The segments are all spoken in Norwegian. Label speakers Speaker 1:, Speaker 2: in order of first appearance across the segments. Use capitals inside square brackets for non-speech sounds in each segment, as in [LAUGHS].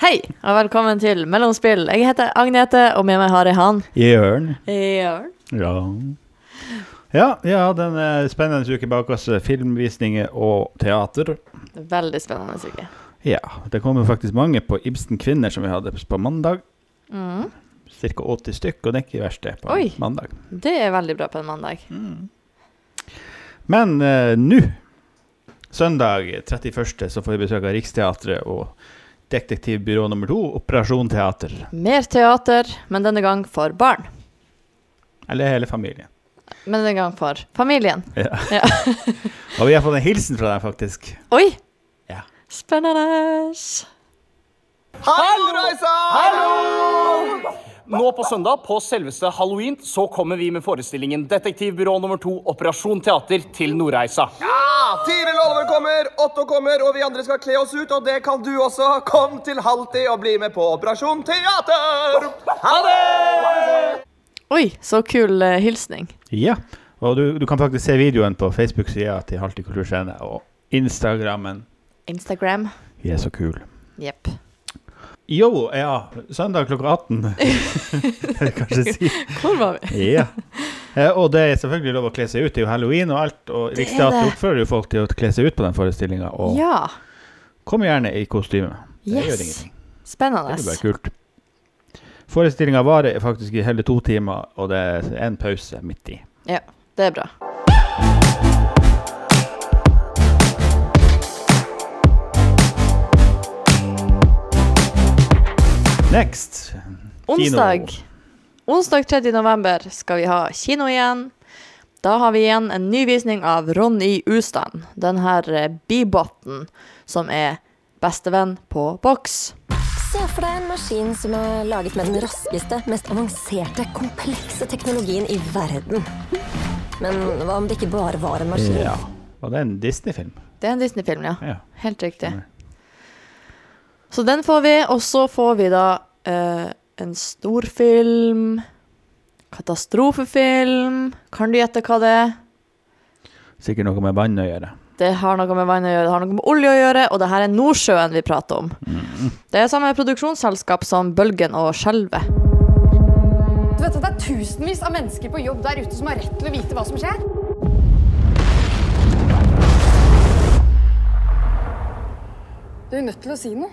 Speaker 1: Hei, og velkommen til Mellomspill. Jeg heter Agnete, og med meg har jeg han.
Speaker 2: Jørn.
Speaker 1: Jørn.
Speaker 2: Ja. Ja, vi har hatt en eh, spennende uke bak oss. eh, Filmvisninger og teater.
Speaker 1: Det er Veldig spennende uke.
Speaker 2: Ja, det kommer faktisk mange på Ibsen Kvinner som vi hadde på mandag.
Speaker 1: Mm.
Speaker 2: Cirka 80 stykk, og det er ikke verst det på
Speaker 1: Oi.
Speaker 2: mandag.
Speaker 1: Det er veldig bra på en mandag.
Speaker 2: Men eh, nå, søndag 31., så får vi besøk av Riksteatret og Detektivbyrå nummer to, Operasjon Teater.
Speaker 1: Mer teater, men denne gang for barn.
Speaker 2: Eller hele familien.
Speaker 1: Men denne gang for familien.
Speaker 2: Og vi har fått en hilsen fra deg, faktisk.
Speaker 1: Oi!
Speaker 2: Ja.
Speaker 1: Spennende.
Speaker 3: Hallo! Nå på søndag, på selveste halloween, så kommer vi med forestillingen Detektivbyrå nummer to, Operasjon Teater, til Nordreisa.
Speaker 4: Ja! Tiril Oliver kommer, Otto kommer, og vi andre skal kle oss ut. Og det kan du også. Kom til halvtid og bli med på Operasjon Teater! Ha det!
Speaker 1: Oi, så kul eh, hilsning.
Speaker 2: Ja. Og du, du kan faktisk se videoen på Facebook-sida til Halvtid kulturscene og Instagrammen.
Speaker 1: Instagram.
Speaker 2: Vi er så kule.
Speaker 1: Jepp.
Speaker 2: Jo, ja. Søndag klokka
Speaker 1: [LAUGHS]
Speaker 2: 18. Kan jeg Kanskje si.
Speaker 1: Hvor var vi?
Speaker 2: Ja. Eh, Og det er selvfølgelig lov å kle seg ut. Det er jo halloween og alt. Og
Speaker 1: Det er
Speaker 2: Riksteatret
Speaker 1: det.
Speaker 2: oppfører jo folk til å kle seg ut på den forestillinga. Og
Speaker 1: Ja.
Speaker 2: kom gjerne i kostyme. Det gjør
Speaker 1: Yes.
Speaker 2: ingenting. Det
Speaker 1: Spennende.
Speaker 2: blir bare kult. Forestillinga varer faktisk i hele to timer, og det er en pause midt i.
Speaker 1: Ja, det er bra.
Speaker 2: Next.
Speaker 1: Onsdag. Onsdag 3. november skal vi ha kino igjen. Da har vi igjen en ny visning av Ronny Ustad, den her eh, bibotten som er bestevenn på boks.
Speaker 5: Se for deg en maskin som er laget med den raskeste, mest avanserte, komplekse teknologien i verden. Men hva om det ikke bare var en maskin?
Speaker 2: Ja. Og det er en Disney-film.
Speaker 1: Det er en Disney-film, ja.
Speaker 2: Ja.
Speaker 1: Helt riktig. Så den får vi, og så får vi da eh, en storfilm, katastrofefilm Kan du gjette hva det er?
Speaker 2: Sikkert noe med vann å gjøre.
Speaker 1: Det har noe med vann å gjøre, det har noe med olje å gjøre, og det her er Nordsjøen vi prater om. Det er samme produksjonsselskap som Bølgen og Skjelvet.
Speaker 6: Du vet at det er tusenvis av mennesker på jobb der ute som har rett til å vite hva som skjer? Du er nødt til å si noe.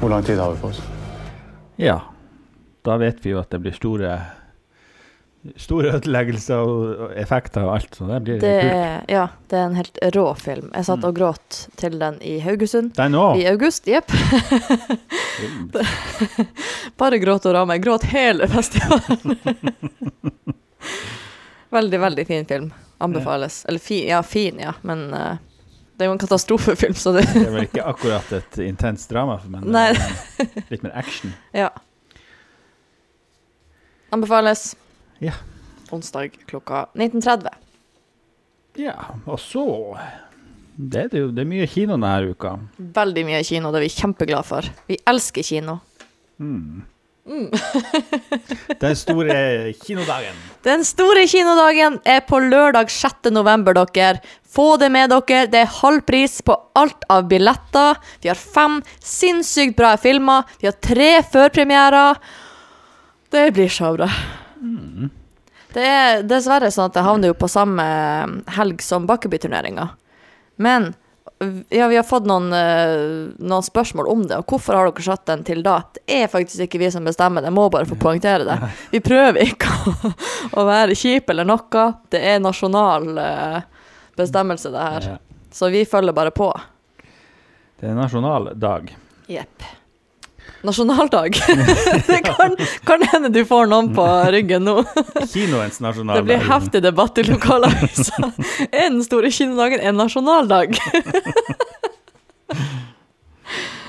Speaker 7: Hvor lang tid har vi på oss?
Speaker 2: Ja. Da vet vi jo at det blir store Store ødeleggelser og og effekter og alt, så det blir
Speaker 1: Det
Speaker 2: kult.
Speaker 1: er, ja, det er en helt rå film. Jeg satt og gråt til den i Haugesund
Speaker 2: Den
Speaker 1: i
Speaker 2: òg.
Speaker 1: august. Jepp. [LAUGHS] Bare gråt og ramme. Gråt hele festivalen. [LAUGHS] veldig, veldig fin film. Anbefales. Eller fin, ja, fin, ja, men eh, det er jo en katastrofefilm, så det
Speaker 2: [LAUGHS]
Speaker 1: [LAUGHS]
Speaker 2: Det er vel ikke akkurat et intenst drama, men det
Speaker 1: Nei.
Speaker 2: er litt mer action.
Speaker 1: Ja. Anbefales.
Speaker 2: Ja.
Speaker 1: Onsdag klokka 19.30.
Speaker 2: Ja, og så Det er det jo det er mye kino denne uka.
Speaker 1: Veldig mye kino, det er vi kjempeglade for. Vi elsker kino.
Speaker 2: Den store kinodagen.
Speaker 1: Den store kinodagen er på lørdag 6. november, dere. Få det med dere. Det er halv pris på alt av billetter. Vi har fem sinnssykt bra filmer. Vi har tre førpremierer. Det blir så bra. Det er dessverre sånn at det havner jo på samme eh, helg som Bakkeby-turneringa. Men ja, vi har fått noen, eh, noen spørsmål om det, og hvorfor har dere satt den til da? Det er faktisk ikke vi som bestemmer, det må bare få poengtere det. Vi prøver ikke å, å være kjipe eller noe. Det er nasjonal eh, bestemmelse, det her.
Speaker 2: Ja.
Speaker 1: Så vi følger bare på.
Speaker 2: Det er nasjonal dag.
Speaker 1: Jepp. Nasjonaldag. det kan, kan hende du får noen på ryggen nå.
Speaker 2: Kinoens
Speaker 1: Det
Speaker 2: nasjonaldag.
Speaker 1: blir heftig debatt i lokalavisa. Er den store kinodagen en nasjonaldag?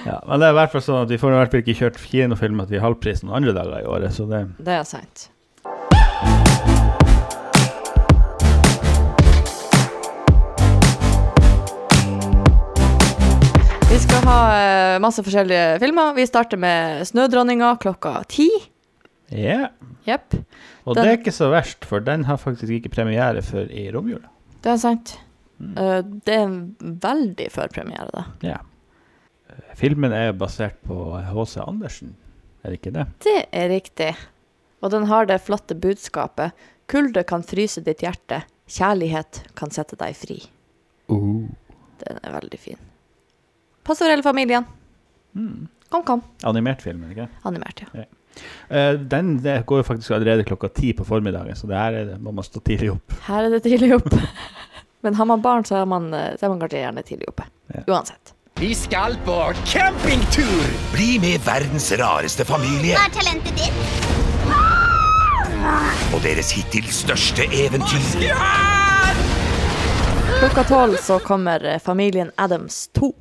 Speaker 2: Ja, men det er i hvert fall sånn at vi får i hvert fall ikke kjørt kinofilmer til halvpris noen andre dager i året, så det
Speaker 1: Det er sant. Vi skal ha eh, masse forskjellige filmer. Vi starter med 'Snødronninga' klokka ti.
Speaker 2: Ja.
Speaker 1: Jepp.
Speaker 2: Og
Speaker 1: Den-
Speaker 2: det er ikke så verst, for den har faktisk ikke premiere før i romjula.
Speaker 1: Det er sant. Eh, det er en veldig førpremiere, da.
Speaker 2: Ja. Eh, Filmen er basert på H.C. Andersen, er det ikke det?
Speaker 1: Det er riktig. Og den har det flotte budskapet 'Kulde kan fryse ditt hjerte, kjærlighet kan sette deg fri'. Den er veldig fin. Pastorellfamilien. Kom, kom.
Speaker 2: Animert film, er det ikke?
Speaker 1: Animert, ja.
Speaker 2: Eh, Den det går jo faktisk allerede klokka ti på formiddagen, så det her er det, må man stå tidlig opp.
Speaker 1: Her er det tidlig opp. [LAUGHS] Men har man barn, så er man, eh, så er man kanskje gjerne tidlig oppe. Uansett.
Speaker 7: Vi skal på campingtur!
Speaker 8: Bli med verdens rareste familie
Speaker 9: Hva er talentet ditt?
Speaker 8: og deres hittil største eventyr.
Speaker 1: Klokka tolv så kommer eh, Familien Adams 2.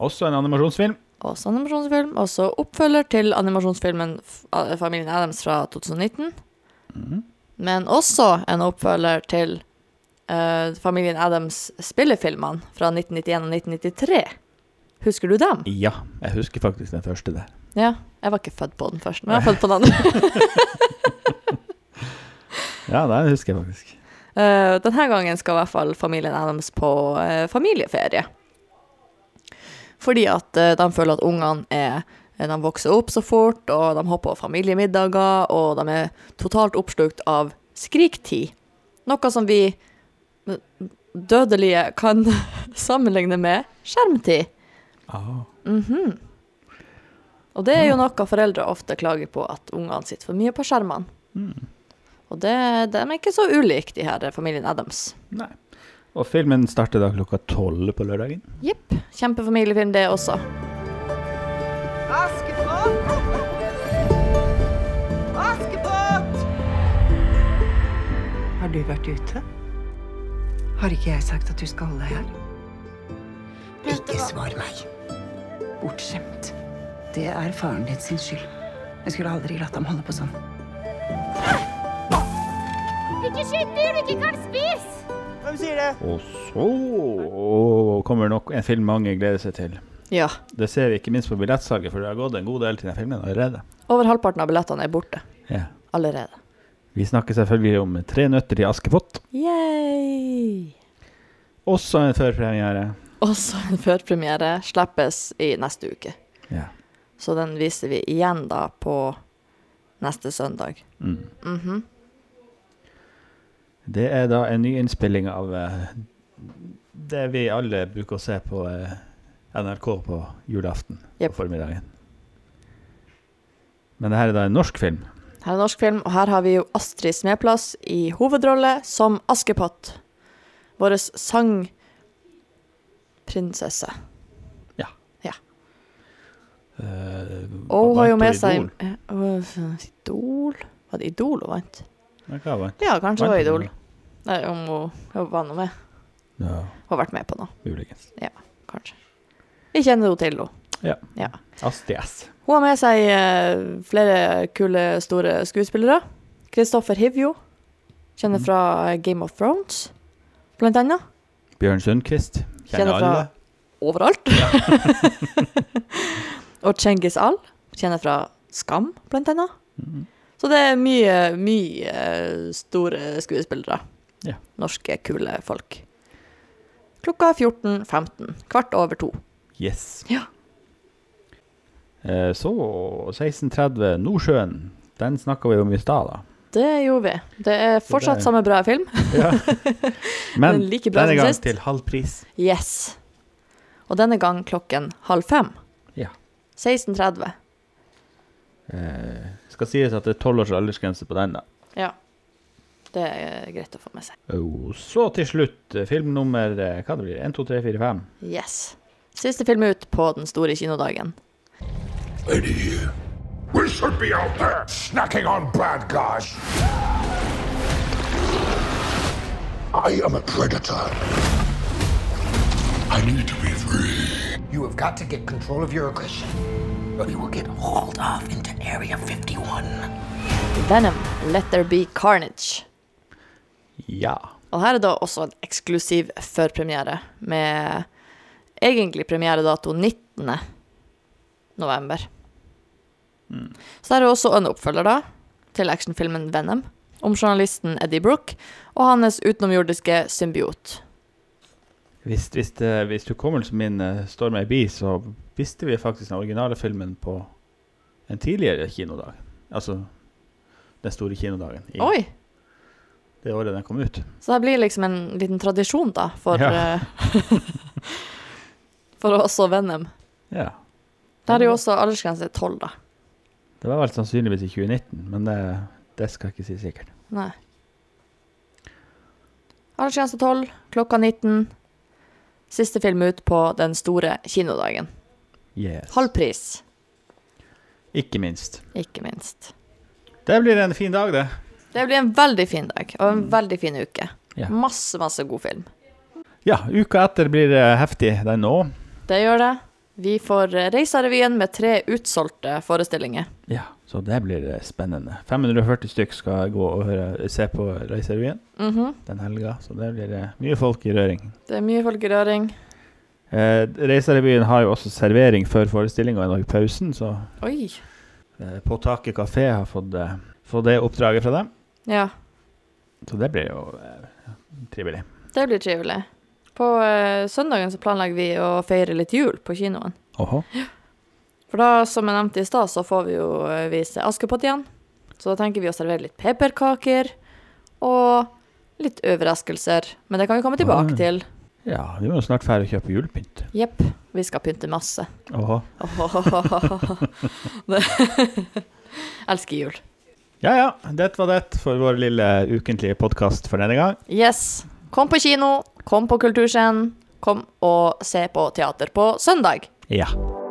Speaker 2: Også en animasjonsfilm.
Speaker 1: Også sånn animasjonsfilm. Også oppfølger til animasjonsfilmen F- eh, Familien Adams fra 2019. Men også en oppfølger til eh, Familien Adams spillefilmene fra 1991 og 1993. Husker du dem?
Speaker 2: Ja, jeg husker faktisk den første der.
Speaker 1: Ja, jeg var ikke født på den første, men jeg var født på den andre.
Speaker 2: Ja, den husker jeg faktisk.
Speaker 1: Eh, denne gangen skal i hvert fall familien Adams på eh, familieferie. Fordi at eh, de føler at ungene er eh, De vokser opp så fort, og de har på familiemiddager, og de er totalt oppslukt av skriktid. Noe som vi eh, dødelige kan [LAUGHS] sammenligne med skjermtid. Mhm. Og det er jo noe foreldre ofte klager på, at ungene sitter for mye på skjermene. Og det, de er ikke så ulike, de her eh, familien Adams.
Speaker 2: Nei. Og filmen starter da klokka tolv på lørdagen.
Speaker 1: Jepp. Kjempefamiliefilm, det også.
Speaker 10: Har du vært ute? Har ikke jeg sagt at du skal holde deg her?
Speaker 9: Ikke svar.
Speaker 10: Bortskjemt. Det er faren din sin skyld. Jeg skulle aldri latt ham holde på sånn.
Speaker 9: Ikke skyt dyr du ikke kan spise!
Speaker 2: Og så kommer nok en film mange gleder seg til.
Speaker 1: Ja.
Speaker 2: Det ser vi ikke minst på billettsalget, for det har gått en god del til den filmen allerede.
Speaker 1: Over halvparten av billettene er borte
Speaker 2: Ja.
Speaker 1: allerede.
Speaker 2: Vi snakker selvfølgelig om Tre nøtter til Askepott.
Speaker 1: Yay!
Speaker 2: Også en førpremiere.
Speaker 1: Også en førpremiere slippes i neste uke.
Speaker 2: Ja.
Speaker 1: Så den viser vi igjen da på neste søndag.
Speaker 2: Det er da en ny innspilling av eh, det vi alle bruker å se på eh, NRK på julaften
Speaker 1: Jep.
Speaker 2: på formiddagen. Men det her er da en norsk film.
Speaker 1: Her er norsk film, og her har vi jo Astrid Smeplass i hovedrolle som Askepott. Vår sangprinsesse.
Speaker 2: Ja.
Speaker 1: Ja.
Speaker 2: Eh,
Speaker 1: Og hun har jo
Speaker 2: vant
Speaker 1: med
Speaker 2: på
Speaker 1: seg
Speaker 2: Idol.
Speaker 1: eh, øh, Idol? Var det Idol hun vant?
Speaker 2: Ja, hva vant?
Speaker 1: Ja, kanskje det var
Speaker 2: Vant hun
Speaker 1: Idol. Nei, om hun, hun var noe med.
Speaker 2: Ja,
Speaker 1: Hun har vært med på noe,
Speaker 2: muligens.
Speaker 1: kanskje. Vi kjenner henne til, hun.
Speaker 2: Ja.
Speaker 1: Ja.
Speaker 2: Astrid S.
Speaker 1: Hun har med seg eh, flere kule, store skuespillere. Kristoffer Hivjo, kjenner fra Game of Thrones, blant annet.
Speaker 2: Bjørn Sundquist. Kjenner
Speaker 1: Kjenner fra
Speaker 2: alle.
Speaker 1: overalt. [LAUGHS] og Cengiz Al kjenner fra Skam, blant annet.
Speaker 2: Mm.
Speaker 1: Så det er mye, mye store skuespillere.
Speaker 2: Ja.
Speaker 1: Norske, kule folk. Klokka 14.15, kvart over to.
Speaker 2: Yes.
Speaker 1: Ja.
Speaker 2: Eh, så 16.30, Nordsjøen. Den snakka vi om i stad, da.
Speaker 1: Det gjorde vi. Det er fortsatt
Speaker 2: det er-
Speaker 1: samme bra film. [LAUGHS]
Speaker 2: Men
Speaker 1: Den er like bra
Speaker 2: denne
Speaker 1: som
Speaker 2: gang
Speaker 1: sist.
Speaker 2: til halv pris.
Speaker 1: Yes. Og denne gang klokken halv fem.
Speaker 2: Ja.
Speaker 1: 16.30.
Speaker 2: Skal sies at det er tolv års aldersgrense på den, da.
Speaker 1: Ja. Det er greit å få med seg.
Speaker 2: Og så til slutt, eh, film nummer eh, hva det blir, 1, 2, 3, 4, 5.
Speaker 1: Yes. Siste film ut på den store kinodagen.
Speaker 8: We should be out there snacking on bad guys. I am a predator. I need to be free.
Speaker 7: You have got to get control of your aggression. Or you will get hauled off into Area 51.
Speaker 1: Venom, Let There Be Carnage.
Speaker 2: Ja.
Speaker 1: Og her er da også en eksklusiv førpremiere, med egentlig premieredato 19. november. Så her er også en oppfølger da, til actionfilmen Venom, om journalisten Eddie Brooke og hans utenomjordiske symbiot.
Speaker 2: Hvis, hvis, eh, hvis hukommelsen min eh, står meg bi, så visste vi faktisk den originale filmen på en tidligere kinodag. Altså den store kinodagen. i
Speaker 1: Oi!
Speaker 2: Det året den kom ut.
Speaker 1: Så det blir liksom en liten tradisjon, da, for,
Speaker 2: Ja.
Speaker 1: eh, [LAUGHS] for oss og Venom.
Speaker 2: Ja.
Speaker 1: Der er jo også aldersgrense tolv, da.
Speaker 2: Det var vel sannsynligvis i 2019, men det, det skal jeg ikke si sikkert.
Speaker 1: Nei. Aldersgrense 12, altså klokka 19. Siste film ut på den store kinodagen.
Speaker 2: Yes.
Speaker 1: Halv pris,
Speaker 2: Ikke minst.
Speaker 1: ikke minst.
Speaker 2: Det blir en fin dag, det.
Speaker 1: Det blir en veldig fin dag, og en veldig fin uke.
Speaker 2: Ja.
Speaker 1: Masse, masse god film.
Speaker 2: Ja, uka etter blir eh, heftig den òg.
Speaker 1: Det gjør det. Vi får eh, Reisarevyen med tre utsolgte forestillinger.
Speaker 2: Ja, så det blir eh, spennende. 540 stykk skal gå og høre, se på Reiserevyen
Speaker 1: Mhm.
Speaker 2: den helga, så det blir eh, mye folk i røring.
Speaker 1: Det er mye folk i røring.
Speaker 2: Eh, Reiserevyen har jo også servering før forestillinga i dag, pausen, så
Speaker 1: Oi.
Speaker 2: eh, På taket kafé har fått, eh, fått det oppdraget fra dem.
Speaker 1: Ja,
Speaker 2: Så det blir jo eh, trivelig.
Speaker 1: det blir trivelig. På eh, søndagen så planlegger vi å feire litt jul på kinoen.
Speaker 2: Oho.
Speaker 1: For da, som jeg nevnte i stad, så får vi jo eh, vise Askepott igjen. Så da tenker vi å servere litt pepperkaker og litt overraskelser. Men det kan vi komme tilbake
Speaker 2: Ah.
Speaker 1: til.
Speaker 2: Ja, vi må jo snart fære og kjøpe julepynt.
Speaker 1: Jepp, vi skal pynte masse. [LAUGHS]
Speaker 2: Oho.
Speaker 1: Det- Elsker jul.
Speaker 2: Ja ja, det var det for vår lille ukentlige podkast for denne gang.
Speaker 1: Yes. Kom på kino, kom på kulturscenen, kom og se på teater på søndag.
Speaker 2: Ja.